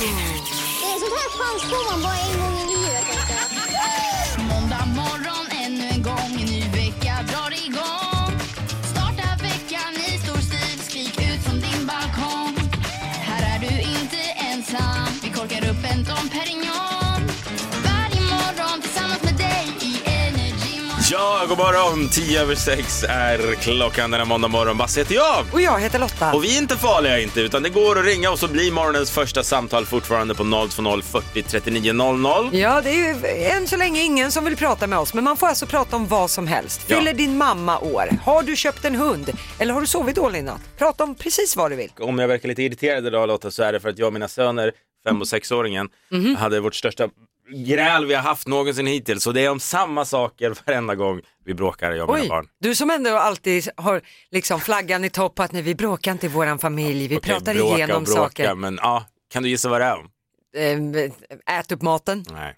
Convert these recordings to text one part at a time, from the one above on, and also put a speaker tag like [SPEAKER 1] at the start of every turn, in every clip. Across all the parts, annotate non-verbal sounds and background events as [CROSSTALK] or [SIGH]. [SPEAKER 1] Det är sånt här chans får man bara en gång i livet. tänkte jag.
[SPEAKER 2] Måndag morgon, ännu en gång, en ny vecka drar igång. Starta veckan i stor stil, skrik ut från din balkong. Här är du inte ensam, vi korkar upp en Dom Perignon. Varje morgon tillsammans med dig i Energy Morgon.
[SPEAKER 3] Ja, god morgon! 10 över 6 är klockan denna måndag morgon. Basse heter jag!
[SPEAKER 4] Och jag heter Lotta.
[SPEAKER 3] Och vi är inte farliga inte, utan det går att ringa och så blir morgonens första samtal fortfarande på 020 40 39 00.
[SPEAKER 4] Ja, det är ju än så länge ingen som vill prata med oss, men man får alltså prata om vad som helst.
[SPEAKER 3] Ja.
[SPEAKER 4] Fyller din mamma år? Har du köpt en hund? Eller har du sovit dåligt i natt? Prata om precis vad du vill.
[SPEAKER 3] Om jag verkar lite irriterad idag Lotta så är det för att jag och mina söner, fem och sexåringen,
[SPEAKER 4] Mhm.
[SPEAKER 3] hade vårt största gräl vi har haft någonsin hittills. Så det är om samma saker varenda gång vi bråkar, jag och mina
[SPEAKER 4] Oj,
[SPEAKER 3] barn.
[SPEAKER 4] du som ändå alltid har liksom flaggan i topp att nej, vi bråkar inte i våran familj, vi
[SPEAKER 3] Okej,
[SPEAKER 4] pratar
[SPEAKER 3] bråka och
[SPEAKER 4] igenom
[SPEAKER 3] bråka,
[SPEAKER 4] saker.
[SPEAKER 3] Men ja, kan du gissa vad det är om?
[SPEAKER 4] Eh, Ät upp maten,
[SPEAKER 3] Nej.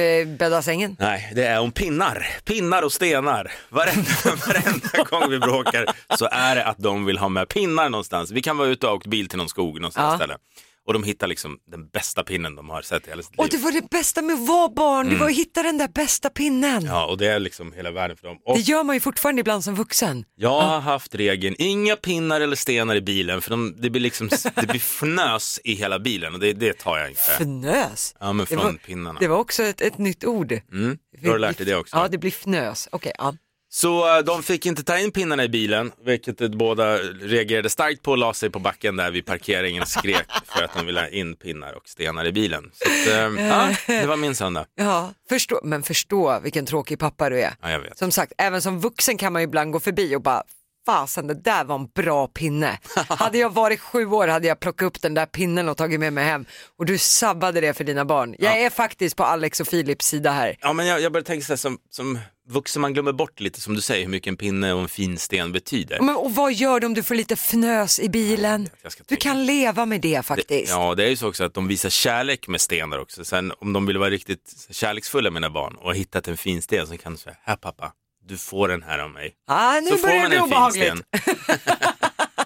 [SPEAKER 4] eh, bädda sängen.
[SPEAKER 3] Nej, det är om pinnar. Pinnar och stenar. Varenda, [LAUGHS] varenda gång vi bråkar så är det att de vill ha med pinnar någonstans. Vi kan vara ute och ha åkt bil till någon skog någonstans
[SPEAKER 4] Ja.
[SPEAKER 3] ställe. Och de hittar liksom den bästa pinnen de har sett i hela sitt
[SPEAKER 4] Och
[SPEAKER 3] liv.
[SPEAKER 4] det var det bästa med att vara barn, det var att hitta den där bästa pinnen.
[SPEAKER 3] Mm. Ja, och det är liksom hela världen för dem. Och
[SPEAKER 4] Det gör man ju fortfarande ibland som vuxen.
[SPEAKER 3] jag har haft regeln, inga pinnar eller stenar i bilen för de, det blir liksom, det blir [LAUGHS] fnös i hela bilen och det, det tar jag inte.
[SPEAKER 4] Fnös.
[SPEAKER 3] Ja, men
[SPEAKER 4] Det var-
[SPEAKER 3] från pinnarna.
[SPEAKER 4] Det var också ett, ett nytt ord.
[SPEAKER 3] Mm, då har du lärt dig det också.
[SPEAKER 4] Ja, det blir fnös. Okej, ja.
[SPEAKER 3] Så eh, de fick inte ta in pinnarna i bilen, vilket eh, båda reagerade starkt på och la sig på backen där vid parkeringen och skrek för att de ville ha in pinnar och stenar i bilen. Så att, eh, ja, det var min söndag.
[SPEAKER 4] ja förstå, men förstå vilken tråkig pappa du är.
[SPEAKER 3] Ja, jag vet.
[SPEAKER 4] Som sagt, även som vuxen kan man ju ibland gå förbi och bara Fasen, det där var en bra
[SPEAKER 3] [LAUGHS]
[SPEAKER 4] pinne. Hade jag varit sju år hade jag plockat upp den där pinnen och tagit med mig hem. Och du sabbade det för dina barn. Jag är faktiskt på Alex och Philips sida här.
[SPEAKER 3] Ja, men jag, jag började tänka så här, som, som vuxen, man glömmer bort lite som du säger hur mycket en pinne och en fin sten betyder.
[SPEAKER 4] Men, och vad gör du om du får lite fnös i bilen?
[SPEAKER 3] jag ska
[SPEAKER 4] Du
[SPEAKER 3] tänka.
[SPEAKER 4] kan leva med det faktiskt.
[SPEAKER 3] Ja, det är ju så också att de visar kärlek med stenar också. Sen om de vill vara riktigt kärleksfulla mina barn och har hittat en fin sten så kan de säga, här pappa, du får den här av mig.
[SPEAKER 4] Ah, nu
[SPEAKER 3] så får
[SPEAKER 4] börjar det
[SPEAKER 3] man
[SPEAKER 4] bli
[SPEAKER 3] en fin
[SPEAKER 4] obehagligt.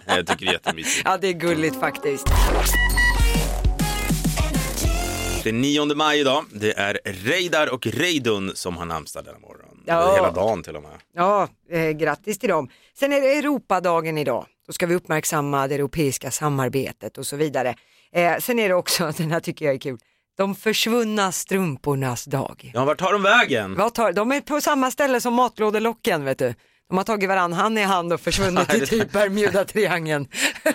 [SPEAKER 3] sten. [LAUGHS] jag tycker det är jättemysigt.
[SPEAKER 4] [LAUGHS] Ja, det är gulligt faktiskt.
[SPEAKER 3] Det är 9 maj idag. Det är Reidar och Reidun som har namnsdag denna morgon.
[SPEAKER 4] Ja.
[SPEAKER 3] Eller Hela dagen till och med.
[SPEAKER 4] Ja, eh, grattis till dem. Sen är det Europadagen idag. Då ska vi uppmärksamma det europeiska samarbetet och så vidare. Eh, sen är det också, [LAUGHS] den här tycker jag är kul, de försvunna strumpornas dag.
[SPEAKER 3] Ja, vart tar de vägen?
[SPEAKER 4] Vad tar, de är på samma ställe som matlådelocken vet du. De har tagit varandra hand i hand och försvunnit i typ Bermuda-triangeln. [LAUGHS]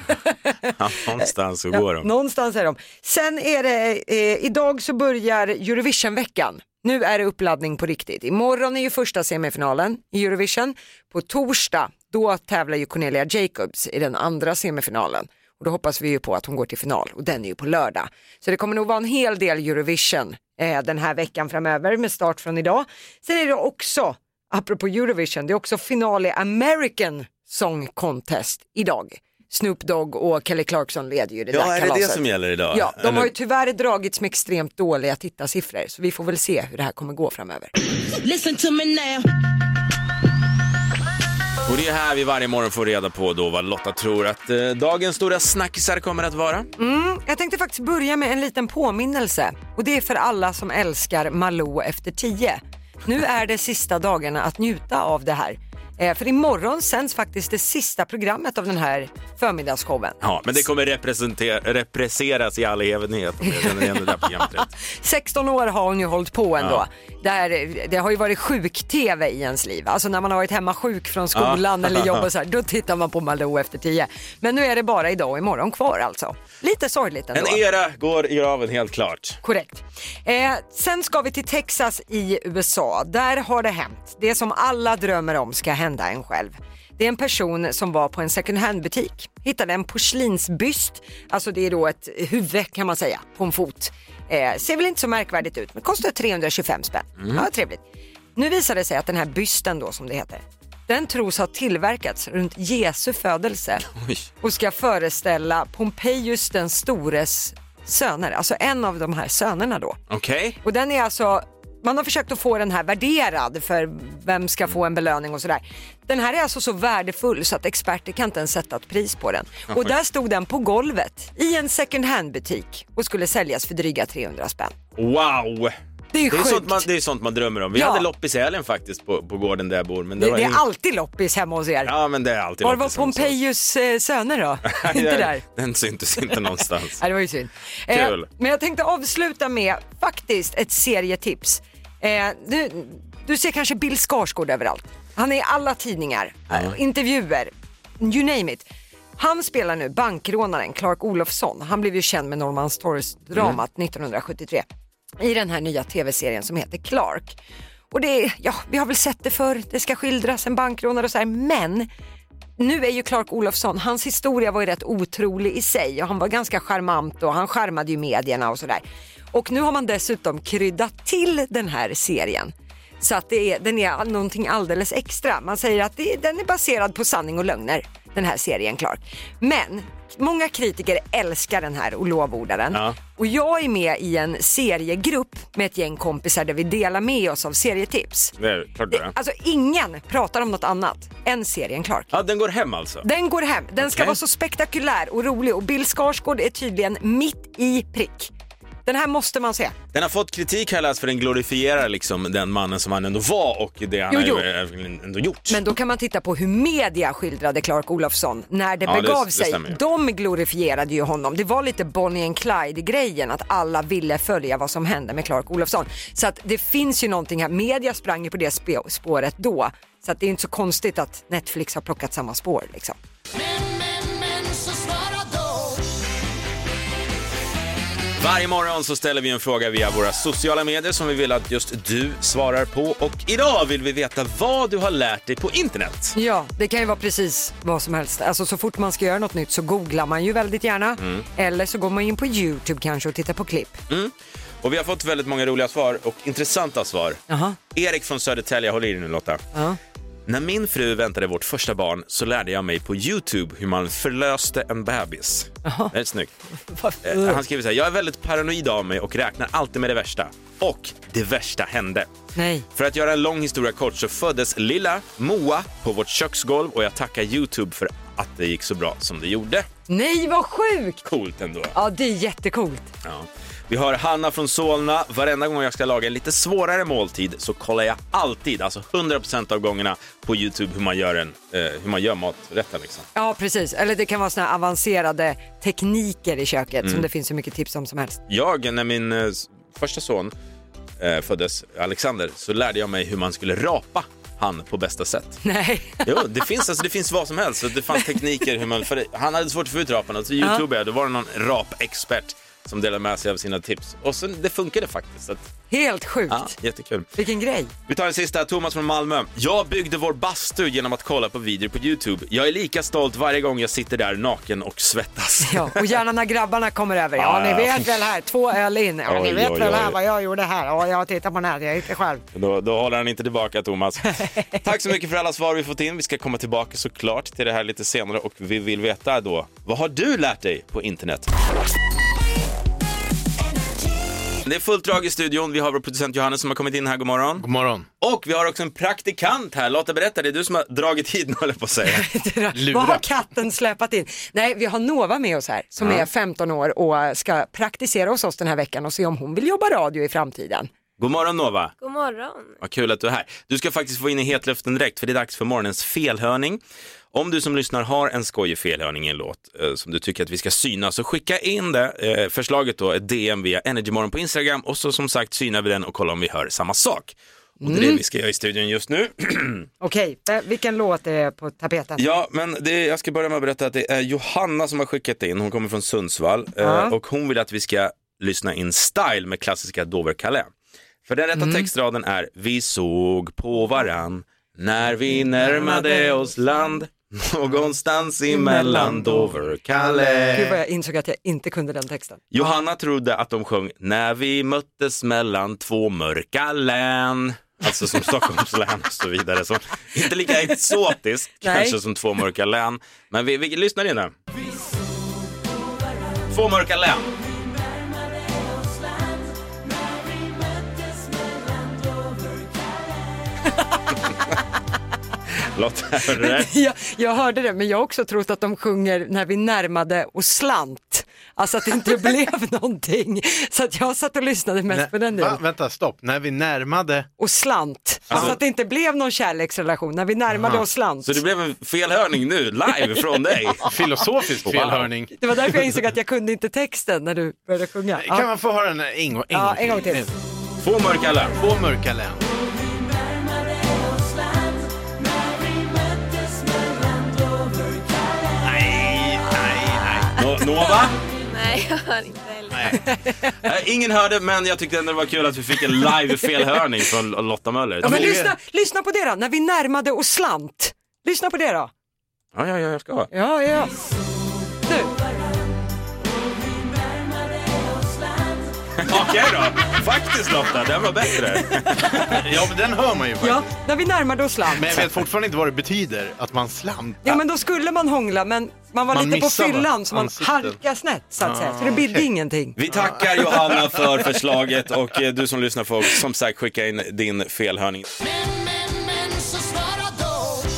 [SPEAKER 3] Ja, någonstans så går de.
[SPEAKER 4] Någonstans är de. Sen är det, eh, idag så börjar Eurovisionveckan. Nu är det uppladdning på riktigt. Imorgon är ju första semifinalen i Eurovision. På torsdag, då tävlar ju Cornelia Jacobs i den andra semifinalen. Och då hoppas vi ju på att hon går till final och den är ju på lördag. Så det kommer nog vara en hel del Eurovision eh, den här veckan framöver med start från idag. Sen är det också, apropå Eurovision, det är också final i American Song Contest idag. Snoop Dogg och Kelly Clarkson leder ju det där
[SPEAKER 3] Ja, är det det
[SPEAKER 4] kalaset.
[SPEAKER 3] som gäller idag?
[SPEAKER 4] Ja, de
[SPEAKER 3] Eller-
[SPEAKER 4] har ju tyvärr dragits med extremt dåliga tittarsiffror så vi får väl se hur det här kommer gå framöver.
[SPEAKER 5] Listen to me now.
[SPEAKER 3] Och det är här vi varje morgon får reda på då vad Lotta tror att eh, dagens stora snackisar kommer att vara.
[SPEAKER 4] Mm. Jag tänkte faktiskt börja med en liten påminnelse och det är för alla som älskar Malou efter tio. Nu är det sista dagarna att njuta av det här. Eh, För imorgon sänds faktiskt det sista programmet av den här förmiddagsshowen.
[SPEAKER 3] Ja, men det kommer representera, represseras i all evighet om jag känner igen det där
[SPEAKER 4] [LAUGHS]
[SPEAKER 3] programmet rätt.
[SPEAKER 4] 16 år har hon ju hållit på ändå. Där, det har ju varit sjuk-tv i ens liv. Alltså när man har varit hemma sjuk från skolan
[SPEAKER 3] Ja.
[SPEAKER 4] eller jobb och så här, då tittar man på Malou efter tio. Men nu är det bara idag och imorgon kvar alltså. Lite sorgligt ändå.
[SPEAKER 3] En era går i graven helt klart.
[SPEAKER 4] Korrekt. Eh, sen ska vi till Texas i USA. Där har det hänt. Det som alla drömmer om ska hända en själv. Det är en person som var på en second hand butik. Hittade en porslinsbyst, alltså det är då ett huvud kan man säga, på en fot. Eh, ser väl inte så märkvärdigt ut men kostar 325 spänn. Ja, trevligt. Nu visar det sig att den här bysten då som det heter, den tros ha tillverkats runt Jesu födelse
[SPEAKER 3] Oj.
[SPEAKER 4] och ska föreställa Pompejus den stores söner, alltså en av de här sönerna då.
[SPEAKER 3] Okej.
[SPEAKER 4] Och den är alltså man har försökt att få den här värderad för vem ska få en belöning och sådär. Den här är alltså så värdefull så att experter kan inte ens sätta ett pris på den. Och där stod den på golvet i en second hand butik och skulle säljas för dryga 300 spänn.
[SPEAKER 3] Wow!
[SPEAKER 4] Det är
[SPEAKER 3] Det är,
[SPEAKER 4] sjukt.
[SPEAKER 3] sånt man, det är sånt man drömmer om. Vi
[SPEAKER 4] Ja.
[SPEAKER 3] hade loppis i helgen faktiskt på, på gården där jag bor. Men det,
[SPEAKER 4] det,
[SPEAKER 3] var
[SPEAKER 4] det
[SPEAKER 3] ingen-
[SPEAKER 4] är alltid loppis hemma hos er.
[SPEAKER 3] Ja, men det är alltid
[SPEAKER 4] Var var
[SPEAKER 3] loppis hemma hos oss. [LAUGHS]
[SPEAKER 4] Pompejus eh, söner då? inte där?
[SPEAKER 3] Den syntes inte någonstans.
[SPEAKER 4] [LAUGHS] Ja, det var ju synd. Eh,
[SPEAKER 3] Kul.
[SPEAKER 4] men jag tänkte avsluta med faktiskt ett serietips. Eh, du, du ser kanske Bill Skarsgård överallt. Han är i alla tidningar, eh, intervjuer, you name it. Han spelar nu bankrånaren Clark Olofsson. Han blev ju känd med Norrmalmstorgsdramat 1973 i den här nya tv-serien som heter Clark. Och det är, ja, vi har väl sett det förr, det ska skildras en bankrånare och så här, men nu är ju Clark Olofsson, hans historia var ju rätt otrolig i sig och han var ganska charmant och han charmade ju medierna och sådär. Och nu har man dessutom kryddat till den här serien. Så att det är, den är någonting alldeles extra. Man säger att det, den är baserad på sanning och lögner, den här serien Clark. Men många kritiker älskar den här och lovordar den.
[SPEAKER 3] Ja.
[SPEAKER 4] Och jag är med i en seriegrupp med ett gäng kompisar där vi delar med oss av serietips.
[SPEAKER 3] Det är klart det är.
[SPEAKER 4] Alltså ingen pratar om något annat än serien Clark.
[SPEAKER 3] Ja, den går hem alltså.
[SPEAKER 4] Den går hem. Den ska
[SPEAKER 3] Okej.
[SPEAKER 4] vara så spektakulär och rolig och Bill Skarsgård är tydligen mitt i prick. Den här måste man se.
[SPEAKER 3] Den har fått kritik här läst för den glorifierar liksom den mannen som han ändå var och det han
[SPEAKER 4] Jo,
[SPEAKER 3] har
[SPEAKER 4] jo.
[SPEAKER 3] ju även ändå gjort.
[SPEAKER 4] Men då kan man titta på hur media skildrade Clark Olofsson när det
[SPEAKER 3] Ja, det-
[SPEAKER 4] begav
[SPEAKER 3] det
[SPEAKER 4] sig.
[SPEAKER 3] stämmer ju.
[SPEAKER 4] De glorifierade ju honom. Det var lite Bonnie and Clyde-grejen att alla ville följa vad som hände med Clark Olofsson. Så att det finns ju någonting här. Media sprang ju på det spe- spåret då. Så att det är inte så konstigt att Netflix har plockat samma spår liksom.
[SPEAKER 2] Men, men, men så svara då
[SPEAKER 3] Varje morgon så ställer vi en fråga via våra sociala medier som vi vill att just du svarar på och idag vill vi veta vad du har lärt dig på internet.
[SPEAKER 4] Ja, det kan ju vara precis vad som helst. Alltså så fort man ska göra något nytt så googlar man ju väldigt gärna.
[SPEAKER 3] Mm.
[SPEAKER 4] Eller så går man in på YouTube kanske och tittar på klipp.
[SPEAKER 3] Och vi har fått väldigt många roliga svar och intressanta svar.
[SPEAKER 4] Jaha.
[SPEAKER 3] Erik från Södertälje, håll i dig nu Lotta.
[SPEAKER 4] Ja.
[SPEAKER 3] När min fru väntade vårt första barn så lärde jag mig på Youtube hur man förlöste en bebis. Det är snyggt. Eh, Han skriver så här, jag är väldigt paranoid av mig och räknar alltid med det värsta. Och det värsta hände.
[SPEAKER 4] Nej.
[SPEAKER 3] För att göra en lång historia kort så föddes lilla Moa på vårt köksgolv och jag tackar Youtube för att det gick så bra som det gjorde.
[SPEAKER 4] Nej, vad sjukt!
[SPEAKER 3] Coolt ändå.
[SPEAKER 4] Ja, det är jättecoolt.
[SPEAKER 3] Ja. Vi har Hanna från Solna. Varenda gång jag ska laga en lite svårare måltid så kollar jag alltid, alltså 100% av gångerna, på Youtube hur man gör, en, eh, hur man gör maträtten. Liksom.
[SPEAKER 4] Ja, precis. Eller det kan vara såna här avancerade tekniker i köket
[SPEAKER 3] Mm.
[SPEAKER 4] som det finns hur mycket tips om som helst. [LAUGHS]
[SPEAKER 3] Jag, när min eh, s- första son eh, föddes, Alexander, så lärde jag mig hur man skulle rapa han på bästa sätt.
[SPEAKER 4] Nej.
[SPEAKER 3] Jo, det finns, alltså, det finns vad som helst. Så Det fanns tekniker. Hur man, för han hade svårt att få ut rapen. och Så youtube jag, då var det någon rapexpert som delade med sig av sina tips. Och så, det funkade faktiskt. Så att,
[SPEAKER 4] Helt sjukt.
[SPEAKER 3] ja, jättekul.
[SPEAKER 4] Vilken grej.
[SPEAKER 3] Vi tar en sista. Thomas från Malmö. Jag byggde vår bastu genom att kolla på videor på Youtube. Jag är lika stolt varje gång jag sitter där naken och svettas.
[SPEAKER 4] Ja, och gärna när grabbarna kommer över. Ja,
[SPEAKER 3] Ja,
[SPEAKER 4] ni
[SPEAKER 3] ja.
[SPEAKER 4] vet väl här, två öl in. Ja, ni
[SPEAKER 3] Oj,
[SPEAKER 4] vet
[SPEAKER 3] oj,
[SPEAKER 4] väl
[SPEAKER 3] oj.
[SPEAKER 4] här vad jag gjorde här. Ja, jag tittar på nätet, jag är inte själv.
[SPEAKER 3] [LAUGHS] Då, då håller han inte tillbaka, Thomas. Tack så mycket för alla svar vi fått in. Vi ska komma tillbaka såklart till det här lite senare och vi vill veta då, vad har du lärt dig på internet? Det är fullt drag i studion. Vi har vår producent Johannes som har kommit in här. God morgon.
[SPEAKER 6] God morgon.
[SPEAKER 3] Och vi har också en praktikant här. Lotta, berätta. Det är du som har dragit hit [LAUGHS] nu, höll jag på att säga.
[SPEAKER 6] Lura.
[SPEAKER 4] Vad har katten släpat in? Nej, vi har Nova med oss här som är 15 år och ska praktisera hos oss den här veckan och se om hon vill jobba radio i framtiden.
[SPEAKER 3] God morgon, Nova.
[SPEAKER 7] God morgon.
[SPEAKER 3] Vad kul att du är här. Du ska faktiskt få in i hetluften direkt för det är dags för morgonens felhörning. Om du som lyssnar har en skojig felhörning i en låt eh, som du tycker att vi ska syna så skicka in det eh, förslaget då, ett DM via Energymorgon på Instagram och så som sagt synar vi den och kollar om vi hör samma sak. Och det är det vi ska göra i studion just nu.
[SPEAKER 4] Okej, eh, vilken låt är på tapeten?
[SPEAKER 3] Ja, men det, jag ska börja med att berätta att det är Johanna som har skickat in, hon kommer från Sundsvall eh, och hon vill att vi ska lyssna in Style med klassiska Dover Calais. För den rätta textraden är Vi såg på varann när vi närmade oss land [LAUGHS] någonstans emellan Dover
[SPEAKER 6] eh.
[SPEAKER 4] Gud vad
[SPEAKER 3] Calais.
[SPEAKER 4] jag insåg att jag inte kunde den [LAUGHS] texten.
[SPEAKER 3] Johanna trodde att de sjöng När vi möttes mellan två mörka län. Alltså som [LAUGHS] Stockholms län och så vidare. Så, inte lika exotiskt
[SPEAKER 4] Nej.
[SPEAKER 3] kanske som två mörka län. Men vi, vi lyssnar in här. Två [LAUGHS] mörka län. Charlotte. Hörde du det?
[SPEAKER 4] Jag, jag hörde det men jag har också trott att de sjunger när vi närmade och slant. Alltså att det inte [LAUGHS] blev någonting. Så att jag satt och lyssnade mest på den
[SPEAKER 6] Va?
[SPEAKER 4] delen.
[SPEAKER 6] Vänta, stopp. När vi närmade...
[SPEAKER 4] Och slant. Alltså att det inte blev någon kärleksrelation när vi närmade och slant.
[SPEAKER 3] Så det blev en felhörning nu, live från dig.
[SPEAKER 6] [LAUGHS] Filosofisk
[SPEAKER 3] Wow.
[SPEAKER 6] felhörning.
[SPEAKER 4] Det var därför jag insåg att jag kunde inte texten när du började sjunga.
[SPEAKER 6] Kan
[SPEAKER 4] Ja.
[SPEAKER 6] man få höra den här en gång, en
[SPEAKER 4] Ja,
[SPEAKER 6] gång,
[SPEAKER 4] en gång till.
[SPEAKER 3] Två mörka län.
[SPEAKER 6] Två mörka län. Nej, nej, nej.
[SPEAKER 3] Nå- Nova?
[SPEAKER 7] Nej, jag hör inte heller.
[SPEAKER 3] Eh, Ingen hörde men jag tyckte ändå det var kul att vi fick en live felhörning från Lotta Möller.
[SPEAKER 4] Ja, men
[SPEAKER 6] det-
[SPEAKER 4] lyssna, lyssna på det då, när vi närmade och slant. Lyssna på det då.
[SPEAKER 3] ja, ja, ja, jag ska.
[SPEAKER 4] Ja, ja. Nu.
[SPEAKER 3] Okej då, faktiskt Lotta, den var bättre.
[SPEAKER 6] Ja, men den hör man ju faktiskt.
[SPEAKER 4] Ja, när vi närmade och slant.
[SPEAKER 6] Men jag vet fortfarande inte vad det betyder att man slantar.
[SPEAKER 4] Ja men då skulle man hångla men man var
[SPEAKER 6] Man
[SPEAKER 4] lite på
[SPEAKER 6] missar, va?
[SPEAKER 4] fyllan så man
[SPEAKER 6] Ansikten.
[SPEAKER 4] halkade snett så att säga. Så det
[SPEAKER 6] Ah,
[SPEAKER 4] bidde
[SPEAKER 6] okej.
[SPEAKER 4] ingenting.
[SPEAKER 3] Vi tackar Johanna för förslaget och eh, du som lyssnar får som sagt skicka in din felhörning.
[SPEAKER 2] Men, men, men, så svara då.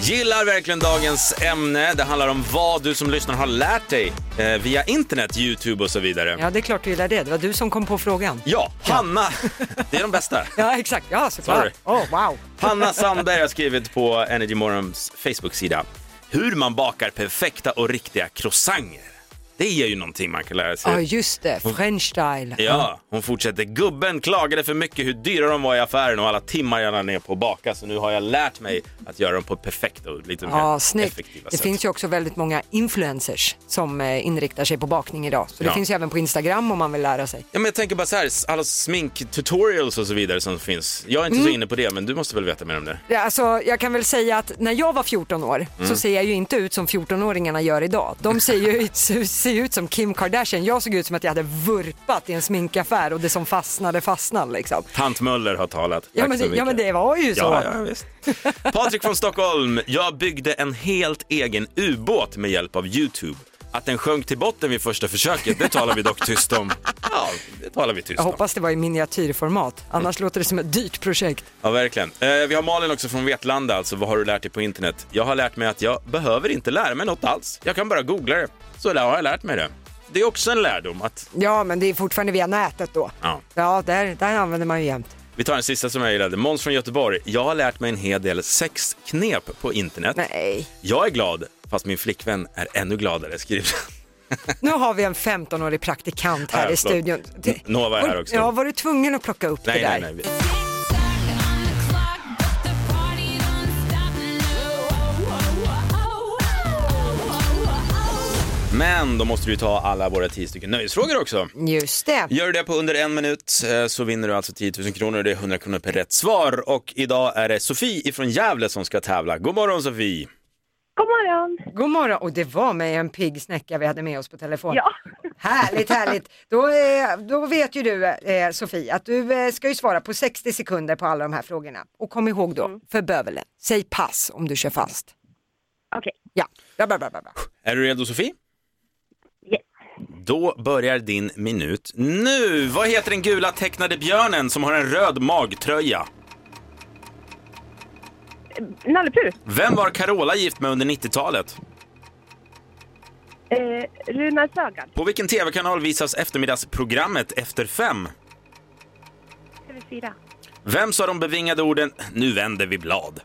[SPEAKER 3] Gillar verkligen dagens ämne. Det handlar om vad du som lyssnar har lärt dig eh, via internet, Youtube och så vidare. Ja,
[SPEAKER 4] Ja det är klart du gillar det, det var du som kom på frågan.
[SPEAKER 3] Hanna, det är de bästa.
[SPEAKER 4] Ja exakt,
[SPEAKER 3] Sorry.
[SPEAKER 4] ja såklart. Åh wow.
[SPEAKER 3] Hanna Sandberg har skrivit på Energy Morgons Facebook-sida hur man bakar perfekta och riktiga croissanter. Det är ju någonting man kan lära sig.
[SPEAKER 4] Ja just det, french style.
[SPEAKER 3] Ja, hon fortsätter. Gubben klagade för mycket hur dyra de var i affären och alla timmar jag la ner på att baka så nu har jag lärt mig att göra dem på ett perfekt och lite mer
[SPEAKER 4] Ja, snyggt.
[SPEAKER 3] effektiva
[SPEAKER 4] Det
[SPEAKER 3] sätt.
[SPEAKER 4] finns ju också väldigt många influencers som eh, inriktar sig på bakning idag. Så det
[SPEAKER 3] Ja.
[SPEAKER 4] finns ju även på Instagram om man vill lära sig.
[SPEAKER 3] Ja, men jag tänker bara så här, alla sminktutorials och så vidare som finns. Jag är inte
[SPEAKER 4] Mm.
[SPEAKER 3] så inne på det, men du måste väl veta mer om det?
[SPEAKER 4] Ja, Alltså, jag kan väl säga att när jag var 14 år
[SPEAKER 3] Mm.
[SPEAKER 4] så ser jag ju inte ut som 14-åringarna gör idag. De ser ju ut, [LAUGHS] ser- ser ju ut som Kim Kardashian. Jag såg ut som att jag hade vurpat i en sminkaffär och det som fastnade fastnade liksom.
[SPEAKER 3] Tant Möller har talat.
[SPEAKER 4] Ja
[SPEAKER 3] Tack
[SPEAKER 4] men,
[SPEAKER 3] så
[SPEAKER 4] det- ja
[SPEAKER 3] mycket.
[SPEAKER 4] men det var ju så.
[SPEAKER 3] Ja, ja, visst. [LAUGHS] Patrik från Stockholm. Jag byggde en helt egen ubåt med hjälp av Youtube. Att den sjönk till botten vid första försöket, det talar vi dock tyst om. [LAUGHS] Ja, det talar vi tyst
[SPEAKER 4] Jag
[SPEAKER 3] om.
[SPEAKER 4] hoppas det var i miniatyrformat, annars låter det som ett dyrt projekt.
[SPEAKER 3] Ja, verkligen. Eh, vi har Malin också från Vetlanda, alltså vad har du lärt dig på internet? Jag har lärt mig att jag behöver inte lära mig något alls. Jag kan bara googla det, så där har jag lärt mig det. Det är också en lärdom att,
[SPEAKER 4] Ja men det är fortfarande via nätet då.
[SPEAKER 3] ja.
[SPEAKER 4] Ja, där, där använder man ju jämt.
[SPEAKER 3] Vi tar en sista som jag gillade. Måns från Göteborg. Jag har lärt mig en hel del sexknep på internet.
[SPEAKER 4] Nej,
[SPEAKER 3] Jag är glad, fast min flickvän är ännu gladare, skriver han.
[SPEAKER 4] nu har vi en 15-årig praktikant
[SPEAKER 3] Ja,
[SPEAKER 4] här i
[SPEAKER 3] förlåt.
[SPEAKER 4] studion.
[SPEAKER 3] N- Nova är här också.
[SPEAKER 4] Ja, var du tvungen att plocka upp
[SPEAKER 3] Nej,
[SPEAKER 4] det där?
[SPEAKER 3] nej, nej. Men då måste du ju ta alla våra tio stycken nöjesfrågor också.
[SPEAKER 4] Just det.
[SPEAKER 3] Gör du det på under en minut eh, så vinner du alltså 10 000 kronor. Det är 100 kronor per rätt svar. Och idag är det Sofie ifrån Gävle som ska tävla. God morgon Sofie!
[SPEAKER 8] God morgon!
[SPEAKER 4] God morgon, och det var mig en pigg snäcka vi hade med oss på telefon.
[SPEAKER 8] Ja.
[SPEAKER 4] Härligt, härligt. Då, eh, då vet ju du eh, Sofie att du eh, ska ju svara på 60 sekunder på alla de här frågorna. Och kom ihåg då,
[SPEAKER 8] Mm.
[SPEAKER 4] för bövelen, säg pass om du kör fast.
[SPEAKER 8] Okej.
[SPEAKER 4] Ja, bra, bra, bra, bra. bra.
[SPEAKER 3] Är du redo Sofie?
[SPEAKER 8] Yes.
[SPEAKER 3] Då börjar din minut nu! Vad heter den gula tecknade björnen som har en röd magtröja?
[SPEAKER 8] Nallepur.
[SPEAKER 3] Vem var Carola gift med under 90-talet?
[SPEAKER 8] Eh, Runar Sögaard.
[SPEAKER 3] På vilken tv-kanal visas eftermiddagsprogrammet Efter fem?
[SPEAKER 8] TV4.
[SPEAKER 3] Vem sa de bevingade orden “Nu vänder vi blad”?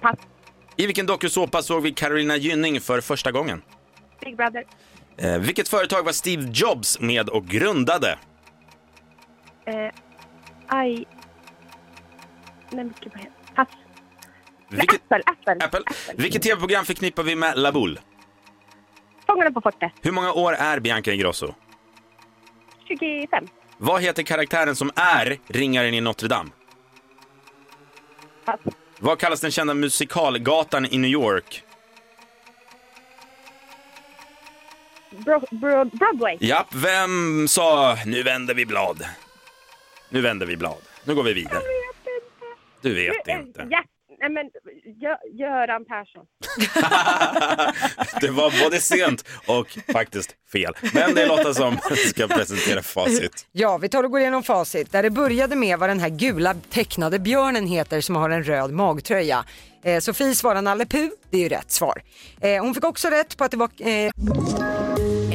[SPEAKER 8] Pass.
[SPEAKER 3] I vilken dokusåpa såg vi Carolina Gynning för första gången?
[SPEAKER 8] Big Brother.
[SPEAKER 3] Eh, vilket företag var Steve Jobs med och grundade?
[SPEAKER 8] Eh, I... Nej, men gud vad heter Pass. Nej,
[SPEAKER 3] Vilket,
[SPEAKER 8] Apple, Apple.
[SPEAKER 3] Apple. Vilket tv-program förknippar vi med La Boule?
[SPEAKER 8] Fångarna på fortet.
[SPEAKER 3] Hur många år är Bianca Ingrosso?
[SPEAKER 8] 25.
[SPEAKER 3] Vad heter karaktären som är ringaren i Notre Dame?
[SPEAKER 8] Pass.
[SPEAKER 3] Vad kallas den kända musikalgatan i New York?
[SPEAKER 8] Bro, bro, Broadway.
[SPEAKER 3] Japp, vem sa “Nu vänder vi blad”? Nu vänder vi blad. Nu går vi vidare. Du vet
[SPEAKER 8] Eh,
[SPEAKER 3] inte.
[SPEAKER 8] Ja, nej, men Gö- Göran Persson.
[SPEAKER 3] Det var både sent och faktiskt fel. Men det är Lotta som ska presentera facit.
[SPEAKER 4] Ja, vi tar och går igenom facit. Där det började med vad den här gula tecknade björnen heter som har en röd magtröja. Eh, Sofie svarar Nalle Puh, det är ju rätt svar. Eh, hon fick också rätt på att det var eh,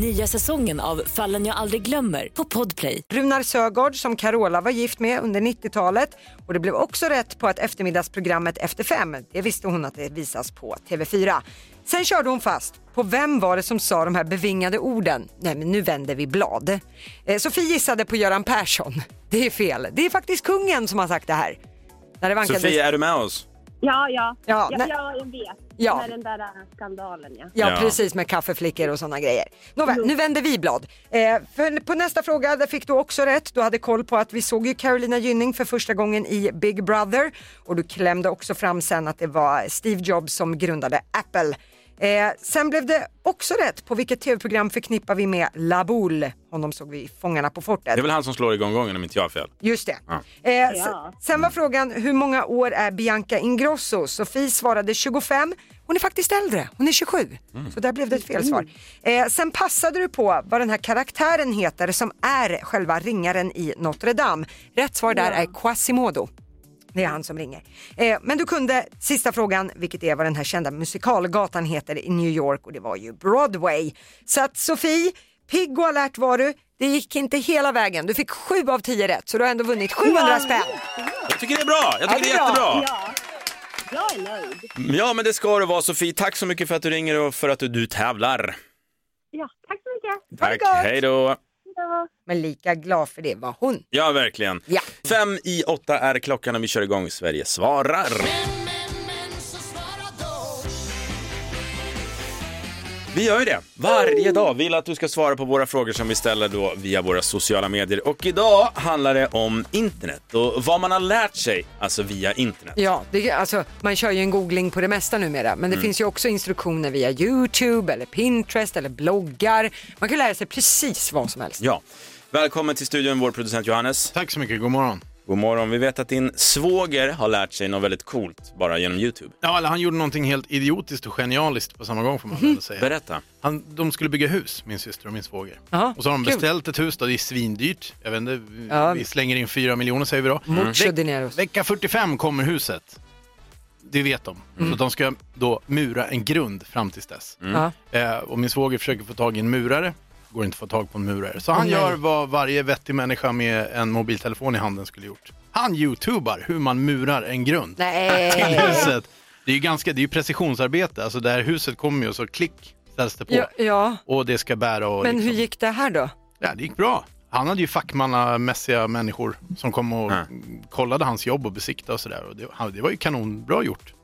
[SPEAKER 9] Nya säsongen av Fallen jag aldrig glömmer på Podplay.
[SPEAKER 4] Runar Sögaard som Carola var gift med under 90-talet. Och det blev också rätt på att eftermiddagsprogrammet Efter fem, det visste hon att det visas på TV4. Sen körde hon fast på vem var det som sa de här bevingade orden? Nej men nu vänder vi blad. Eh, Sofie gissade på Göran Persson. Det är fel. Det är faktiskt kungen som har sagt det här. När det vankades-
[SPEAKER 3] Sofie, är du med oss?
[SPEAKER 8] Ja, ja.
[SPEAKER 4] Ja,
[SPEAKER 8] Ja, ja,
[SPEAKER 4] nej.
[SPEAKER 8] jag vet.
[SPEAKER 4] Ja.
[SPEAKER 8] Med den där äh, skandalen, ja.
[SPEAKER 4] Ja,
[SPEAKER 3] Ja.
[SPEAKER 4] precis med kaffeflickor och sådana grejer. Nåväl, nu vänder vi blad. Eh, för på nästa fråga, där fick du också rätt. Du hade koll på att vi såg ju Carolina Gynning för första gången i Big Brother och du klämde också fram sen att det var Steve Jobs som grundade Apple. Eh, sen blev det också rätt på vilket tv-program förknippar vi med La Boule. Honom såg vi i Fångarna på fortet.
[SPEAKER 3] Det är väl han som slår igång gången om inte jag har fel.
[SPEAKER 4] Just det.
[SPEAKER 3] Ja.
[SPEAKER 4] Eh, s- Sen var frågan hur många år är Bianca Ingrosso? Sofie svarade 25. Hon är faktiskt äldre, hon är 27. Så där blev det ett felsvar. Eh, sen passade du på vad den här karaktären heter som är själva ringaren i Notre Dame. Rätt svar där är Quasimodo. Det är han som ringer. Eh, men du kunde sista frågan, vilket är vad den här kända musikalgatan heter i New York och det var ju Broadway. Så att Sofie, pigg och alert var du. Det gick inte hela vägen. Du fick sju av tio rätt så du har ändå vunnit 700 spänn.
[SPEAKER 3] Jag tycker det är bra! Jag tycker
[SPEAKER 4] det är
[SPEAKER 3] det är
[SPEAKER 4] bra.
[SPEAKER 3] jättebra!
[SPEAKER 8] Jag är nöjd.
[SPEAKER 3] Ja, men det ska det vara Sofie. Tack så mycket för att du ringer och för att du, du tävlar.
[SPEAKER 8] Ja, tack så mycket.
[SPEAKER 3] Tack,
[SPEAKER 4] gott.
[SPEAKER 3] hej då.
[SPEAKER 4] Men lika glad för det var hon.
[SPEAKER 3] Ja, verkligen.
[SPEAKER 4] Ja.
[SPEAKER 3] Fem i åtta är klockan och vi kör igång Sverige svarar. Vi gör ju det varje dag. Vi vill att du ska svara på våra frågor som vi ställer då via våra sociala medier. Och idag handlar det om internet och vad man har lärt sig, alltså via internet.
[SPEAKER 4] Ja, det, alltså, man kör ju en googling på det mesta numera men det finns ju också instruktioner via Youtube eller Pinterest eller bloggar. Man kan lära sig precis vad som helst.
[SPEAKER 3] Ja. Välkommen till studion, vår producent Johannes.
[SPEAKER 6] Tack så mycket, god morgon.
[SPEAKER 3] God morgon. Vi vet att din svåger har lärt sig något väldigt coolt bara genom Youtube.
[SPEAKER 6] Ja, eller han gjorde någonting helt idiotiskt och genialiskt på samma gång får man
[SPEAKER 4] Mhm.
[SPEAKER 6] väl säga.
[SPEAKER 3] Berätta.
[SPEAKER 6] Han, de skulle bygga hus, min syster och min svåger.
[SPEAKER 4] Ja,
[SPEAKER 6] Och så har de
[SPEAKER 4] kul.
[SPEAKER 6] beställt ett hus då, det är svindyrt. Jag vet inte, vi-
[SPEAKER 4] Ja. Mm.
[SPEAKER 6] vi slänger in fyra miljoner säger vi då.
[SPEAKER 4] Mucho dinero.
[SPEAKER 6] Vecka 45 kommer huset. Det vet de. Så
[SPEAKER 4] Mm.
[SPEAKER 6] de ska då mura en grund fram tills dess.
[SPEAKER 4] Ja.
[SPEAKER 6] Eh, och min svåger försöker få tag i en murare. Går inte att få tag på en murare. Så han
[SPEAKER 4] nej.
[SPEAKER 6] gör vad varje vettig människa med en mobiltelefon i handen skulle gjort. Han youtubar hur man murar en grund till
[SPEAKER 4] Nej.
[SPEAKER 6] [LAUGHS] huset. Det är ju ganska, det är ju precisionsarbete. Alltså det här huset kommer ju och så klick ställs det på.
[SPEAKER 4] Ja, ja,
[SPEAKER 6] Och det ska bära och
[SPEAKER 4] men
[SPEAKER 6] liksom.
[SPEAKER 4] hur gick det här då?
[SPEAKER 6] Ja, det gick bra. Han hade ju fackmannamässiga människor som kom och
[SPEAKER 3] Ja.
[SPEAKER 6] kollade hans jobb och besiktade och sådär. Och det, han- det var ju kanonbra gjort.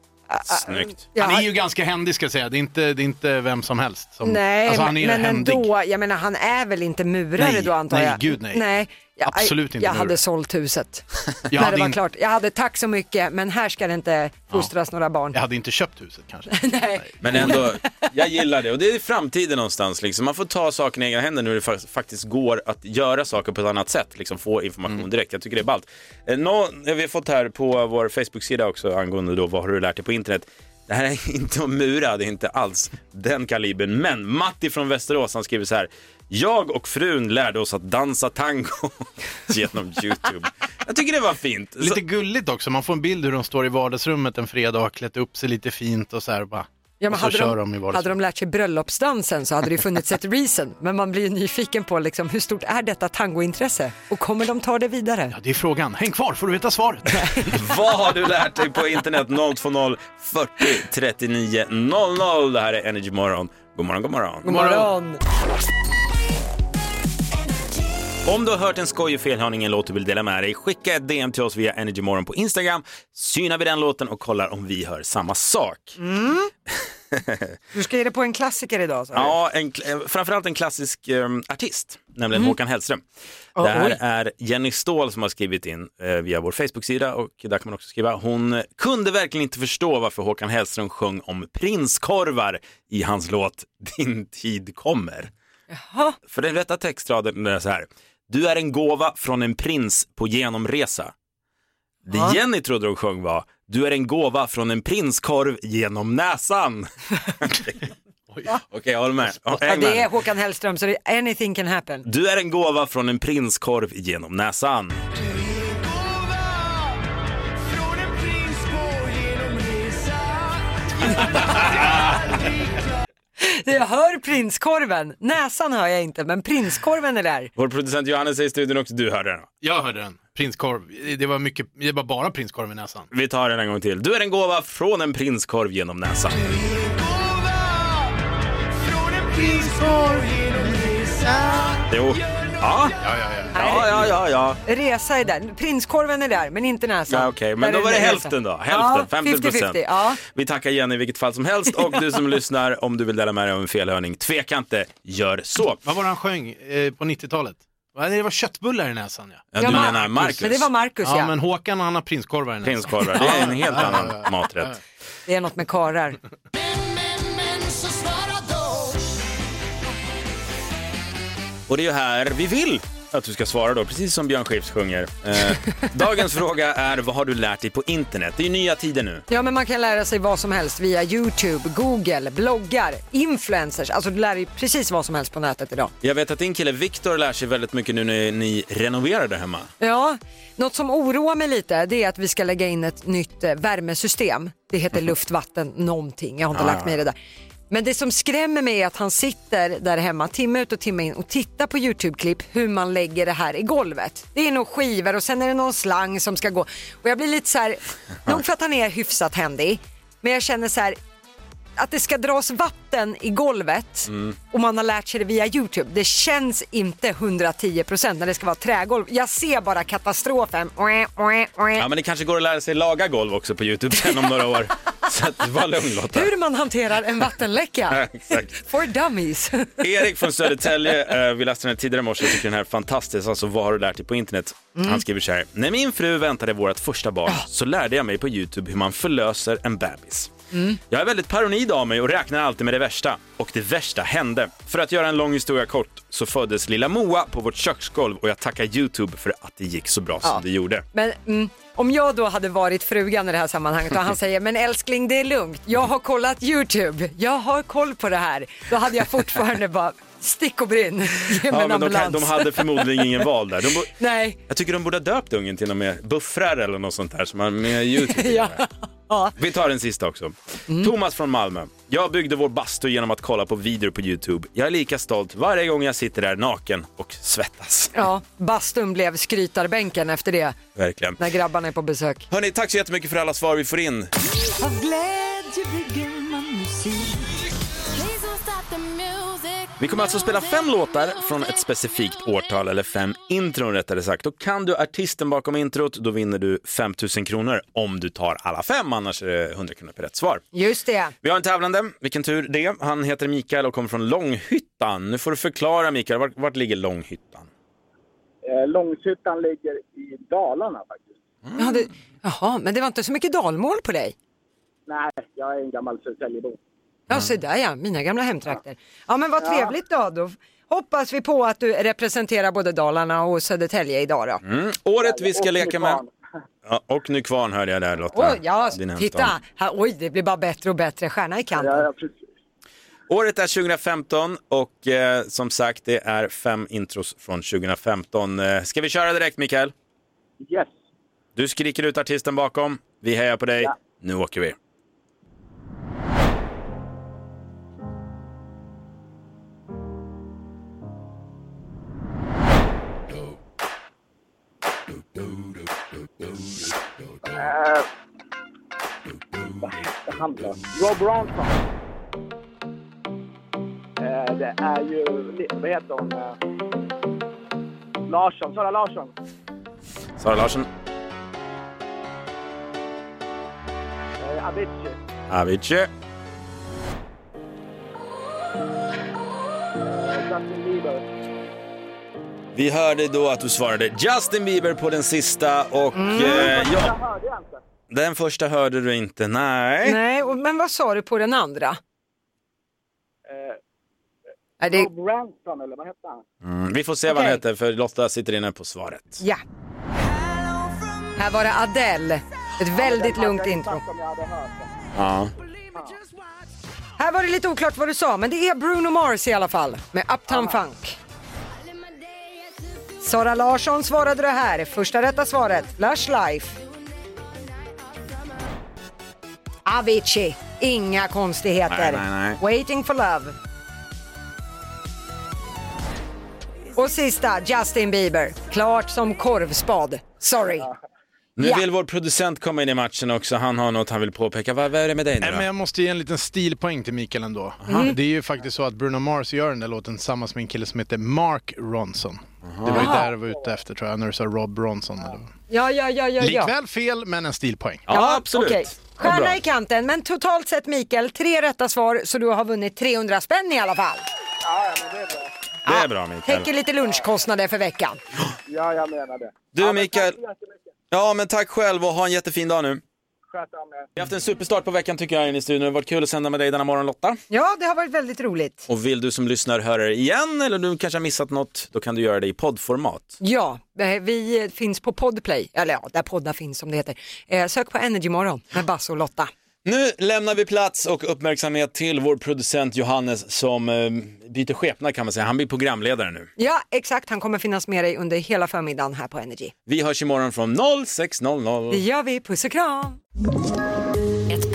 [SPEAKER 3] Snyggt.
[SPEAKER 4] Ja,
[SPEAKER 6] Han är ju ganska händig ska jag säga. Det är inte, det är inte vem som helst. Som,
[SPEAKER 4] Nej,
[SPEAKER 6] alltså, han
[SPEAKER 4] men,
[SPEAKER 6] är
[SPEAKER 4] men
[SPEAKER 6] händig.
[SPEAKER 4] ändå, jag menar han är väl inte murare
[SPEAKER 6] Nej,
[SPEAKER 4] då antar
[SPEAKER 6] nej,
[SPEAKER 4] jag?
[SPEAKER 6] gud nej.
[SPEAKER 4] nej. Jag,
[SPEAKER 6] Absolut inte
[SPEAKER 4] Jag hade
[SPEAKER 6] murare.
[SPEAKER 4] sålt huset
[SPEAKER 6] [LAUGHS] Jag
[SPEAKER 4] när
[SPEAKER 6] hade,
[SPEAKER 4] det var
[SPEAKER 6] inte-
[SPEAKER 4] klart. Jag hade tack så mycket men här ska det inte fostras några barn.
[SPEAKER 6] jag hade inte köpt huset kanske.
[SPEAKER 4] [LAUGHS] Nej.
[SPEAKER 3] Men ändå, jag gillar det. Och det är framtiden någonstans. Liksom. Man får ta saken i egna händer nu det fa- faktiskt går att göra saker på ett annat sätt. Liksom få information direkt. Jag tycker det är ballt. Eh, nå- vi har fått här på vår Facebook-sida också angående då, vad har du lärt dig på internet. Det här är [LAUGHS] inte om mura, det är inte alls den kalibern. Men Matti från Västerås han skriver så här. Jag och frun lärde oss att dansa tango [LAUGHS] genom Youtube. Jag tycker det var fint. Så-
[SPEAKER 6] Lite gulligt också. Man får en bild hur de står i vardagsrummet en fredag och har klätt upp sig lite fint och så här bara.
[SPEAKER 4] Ja, men
[SPEAKER 6] och så
[SPEAKER 4] hade, de,
[SPEAKER 6] kör de i
[SPEAKER 4] hade
[SPEAKER 6] vardagsrummet.
[SPEAKER 4] de lärt sig bröllopsdansen så hade det ju funnits ett reason. Men man blir ju nyfiken på liksom, hur stort är detta tangointresse och kommer de ta det vidare?
[SPEAKER 6] Ja, det är frågan. Häng kvar får du veta svaret.
[SPEAKER 3] Vad har du lärt dig på internet? 020 40 39 00. Det här är Energy Morgon. God morgon, god morgon.
[SPEAKER 4] Morgon!
[SPEAKER 3] Om du har hört en skojig felhörning, en låt du vill dela med dig, skicka ett DM till oss via Energy Morgon på Instagram. Synar vi den låten och kollar om vi hör samma sak.
[SPEAKER 4] Du ska ge dig på en klassiker idag sa du.
[SPEAKER 3] Ja, en, eh, framförallt en klassisk eh, artist, nämligen
[SPEAKER 4] Mm.
[SPEAKER 3] Håkan Hellström.
[SPEAKER 4] Åh,
[SPEAKER 3] det här
[SPEAKER 4] oj.
[SPEAKER 3] är Jenny Ståhl som har skrivit in eh, via vår Facebook-sida och där kan man också skriva. Hon kunde verkligen inte förstå varför Håkan Hellström sjöng om prinskorvar i hans låt Din tid kommer. För den rätta textraden är så här. Du är en gåva från en prins på genomresa. Det Jenny trodde hon sjöng var Du är en gåva från en prinskorv genom [LAUGHS] näsan. Okej, jag håller med. Ja,
[SPEAKER 4] Ja,
[SPEAKER 3] häng med.
[SPEAKER 4] det är Håkan Hellström så det, anything can happen.
[SPEAKER 3] Du är en gåva från en prinskorv genom näsan.
[SPEAKER 4] Jag hör prinskorven, näsan hör jag inte men prinskorven är där.
[SPEAKER 3] Vår producent Johannes är i studion också. Du hörde den.
[SPEAKER 6] Jag hörde den. Prinskorv. Det var, mycket, det var bara prinskorv i näsan.
[SPEAKER 3] Vi tar den en gång till. Du är en gåva från en prinskorv genom näsan. Jo. Ja. Ja, ja, ja. ja, ja, ja.
[SPEAKER 4] Resa är där, prinskorven är där men inte näsan.
[SPEAKER 3] Ja, Okej, men
[SPEAKER 4] Där
[SPEAKER 3] då
[SPEAKER 4] är
[SPEAKER 3] var det
[SPEAKER 4] resa.
[SPEAKER 3] hälften då. Hälften,
[SPEAKER 4] ja,
[SPEAKER 3] 50 procent.
[SPEAKER 4] 50-50, ja.
[SPEAKER 3] Vi tackar Jenny i vilket fall som helst och du [LAUGHS] som lyssnar om du vill dela med dig av en felhörning, tveka inte, gör så.
[SPEAKER 6] Vad var det han sjöng eh, på 90-talet? Va, Det var köttbullar i näsan ja.
[SPEAKER 3] Ja, du Ja, menar Marcus. Marcus. Men det var Marcus, ja.
[SPEAKER 6] men Håkan han har prinskorvar i näsan.
[SPEAKER 3] Prinskorvar, det är [LAUGHS] en helt annan maträtt.
[SPEAKER 4] Det är något med karar.
[SPEAKER 3] Och det är ju här vi vill att du ska svara då, precis som Björn Skifs sjunger. [LAUGHS] Eh, dagens fråga är, vad har du lärt dig på internet? Det är ju nya tider nu.
[SPEAKER 4] Ja men man kan lära sig vad som helst via Youtube, Google, bloggar, influencers. Alltså du lär dig precis vad som helst på nätet idag.
[SPEAKER 3] Jag vet att din kille Viktor lär sig väldigt mycket nu när ni renoverar där hemma.
[SPEAKER 4] Ja, något som oroar mig lite det är att vi ska lägga in ett nytt eh, värmesystem. Det heter luftvatten någonting, jag har inte
[SPEAKER 10] Ah.
[SPEAKER 4] lagt mig i det där. Men det som skrämmer mig är att han sitter där hemma timme ut och timme in och tittar på Youtube-klipp hur man lägger det här i golvet. Det är nog skivor och sen är det någon slang som ska gå. Och jag blir lite så här, nog för att han är hyfsat händig, men jag känner så här att det ska dras vatten i golvet
[SPEAKER 3] Mm.
[SPEAKER 4] och man har lärt sig det via Youtube. Det känns inte 110% när det ska vara trägolv. Jag ser bara katastrofen.
[SPEAKER 3] Ja, men det kanske går att lära sig laga golv också på Youtube sen om några [LAUGHS] år. Så att, var lugn Lotta.
[SPEAKER 4] Hur man hanterar en vattenläcka.
[SPEAKER 3] [LAUGHS] Exakt.
[SPEAKER 4] For dummies.
[SPEAKER 3] Erik från Södertälje, eh, vi läste den här tidigare i morse, jag tycker den här är fantastisk, alltså vad har du lärt dig på internet?
[SPEAKER 4] Mm. Ah.
[SPEAKER 3] Han skriver så här, när min fru väntade vårt första barn så lärde jag mig på Youtube hur man förlöser en bebis.
[SPEAKER 11] Mm.
[SPEAKER 3] Jag är väldigt paranoid av mig och räknar alltid med det värsta. Och det värsta hände. För att göra en lång historia kort så föddes lilla Moa på vårt köksgolv och jag tackar Youtube för att det gick så bra
[SPEAKER 4] Ja.
[SPEAKER 3] som det gjorde.
[SPEAKER 4] [LAUGHS] Men mm, om jag då hade varit frugan i det här sammanhanget och han säger men älskling det är lugnt, jag har kollat Youtube, jag har koll på det här. Då hade jag fortfarande bara stick och brinn, ge mig en
[SPEAKER 3] men de,
[SPEAKER 4] ambulans.
[SPEAKER 3] kan- de hade förmodligen ingen val där. De bo-
[SPEAKER 4] [LAUGHS] Nej.
[SPEAKER 3] jag tycker de borde ha döpt ungen till något mer buffrar eller något sånt där som man med Youtube.
[SPEAKER 4] ja.
[SPEAKER 3] Vi tar den sista också. Thomas från Malmö. Jag byggde vår bastu genom att kolla på videor på Youtube. Jag är lika stolt varje gång jag sitter där naken och svettas.
[SPEAKER 4] ja, bastun blev skrytarbänken efter det,
[SPEAKER 3] Verkligen.
[SPEAKER 4] när grabbarna är på besök.
[SPEAKER 3] Hörni, tack så jättemycket för alla svar vi får in.
[SPEAKER 10] Av glädje bygger man musik.
[SPEAKER 3] Vi kommer alltså spela fem låtar från ett specifikt årtal, eller fem intron rättare sagt. Och kan du artisten bakom introt, då vinner du 5 000 kronor om du tar alla fem, annars är det 100 kronor per rätt svar.
[SPEAKER 4] Just det.
[SPEAKER 3] Vi har en tävlande, vilken tur det. Han heter Mikael och kommer från Långhyttan. Nu får du förklara Mikael, vart, vart ligger Långhyttan?
[SPEAKER 12] Eh, Långshyttan ligger i Dalarna faktiskt.
[SPEAKER 4] Ja, det, jaha, men det var inte så mycket dalmål på dig.
[SPEAKER 12] Nej, jag är en gammal Södertäljebo.
[SPEAKER 4] Ja, se där ja, mina gamla hemtrakter. Ja, men vad trevligt då. då. Hoppas vi på att du representerar både Dalarna och Södertälje idag då.
[SPEAKER 3] Mm. Året vi ska leka med... Ja, och Nykvarn hörde jag där Lotta.
[SPEAKER 4] Oj, ja,
[SPEAKER 3] Din hemstad.
[SPEAKER 4] titta! Här, oj, det blir bara bättre och bättre. Stjärna i kanten.
[SPEAKER 3] Året är 2015 och eh, som sagt det är fem intros från 2015. Eh, ska vi köra direkt Mikael?
[SPEAKER 12] Yes.
[SPEAKER 3] Du skriker ut artisten bakom. Vi hejar på dig. Nu åker vi.
[SPEAKER 12] Eh, vad hette han då? Rob Ronson. Eh, det är ju, vad heter hon? Eh, Larsson, Sara Larsson.
[SPEAKER 3] Sara Larsson,
[SPEAKER 12] Eh, Avicii.
[SPEAKER 3] Avicii. Vi hörde då att du svarade Justin Bieber på den sista och
[SPEAKER 4] Mm.
[SPEAKER 3] eh, ja,
[SPEAKER 12] hörde jag inte.
[SPEAKER 3] den första hörde du inte. Nej.
[SPEAKER 4] Nej, och- men vad sa du på den
[SPEAKER 12] Eh,
[SPEAKER 4] andra? Är det...
[SPEAKER 12] Rob Ranson, eller vad hette han?
[SPEAKER 3] Mm, vi får se vad han heter för Lotta sitter inne på svaret.
[SPEAKER 4] Ja. Här var det Adele. Ett väldigt lugnt intro.
[SPEAKER 3] Ja.
[SPEAKER 4] Här var det lite oklart vad du sa, men det är Bruno Mars i alla fall med Uptown Funk. Sara Larsson svarade det här. Första rätta svaret, Lush Life. Avicii, inga konstigheter.
[SPEAKER 11] Nej, nej, nej.
[SPEAKER 4] Waiting for love. Och sista, Justin Bieber. Klart som korvspad. Sorry.
[SPEAKER 3] Nu
[SPEAKER 4] Ja.
[SPEAKER 3] vill vår producent komma in i matchen också. Han har något han vill påpeka. Vad, vad är det med dig nu
[SPEAKER 6] Nej,
[SPEAKER 3] då?
[SPEAKER 6] men jag måste ge en liten stilpoäng till Mikael ändå.
[SPEAKER 4] Mm-hmm.
[SPEAKER 6] Mm.
[SPEAKER 3] Mhm.
[SPEAKER 6] Det är ju faktiskt så att Bruno Mars gör den där låten tillsammans med en kille som heter Mark Ronson. Det var ju
[SPEAKER 4] Aha.
[SPEAKER 6] där jag var ute efter tror jag, när du sa Rob Ronson. Eller...
[SPEAKER 4] Ja, ja, ja, ja. ja.
[SPEAKER 6] Likväl fel, men en stilpoäng.
[SPEAKER 4] Ja, okej.
[SPEAKER 6] Vad bra.
[SPEAKER 4] Stjärna i kanten, men totalt sett Mikael, tre rätta svar så du har vunnit 300 spänn i alla fall.
[SPEAKER 3] Det är bra Mikael.
[SPEAKER 4] Täcker lite lunchkostnader för veckan.
[SPEAKER 12] Ja, jag menar det.
[SPEAKER 3] Du Mikael. Ja men tack själv och ha en jättefin dag nu.
[SPEAKER 12] Sköt om er.
[SPEAKER 3] Vi har haft en superstart på veckan tycker jag inne i studion. Det har varit kul att sända med dig denna morgon Lotta.
[SPEAKER 4] Ja, det har varit väldigt roligt.
[SPEAKER 3] Och vill du som lyssnar höra det igen eller du kanske har missat något, då kan du göra det i poddformat.
[SPEAKER 4] Ja, eh, vi finns på Podplay, eller ja, där poddar finns som det heter. Eh, sök på Energymorgon med Basse och Lotta.
[SPEAKER 3] Nu lämnar vi plats och uppmärksamhet till vår producent Johannes som eh, byter skepnad kan man säga. Han blir programledare nu.
[SPEAKER 4] Ja, exakt, han kommer finnas med dig under hela förmiddagen här på Energy.
[SPEAKER 3] Vi hörs imorgon från 06.00.
[SPEAKER 4] Det gör vi, puss och kram!
[SPEAKER 9] Ett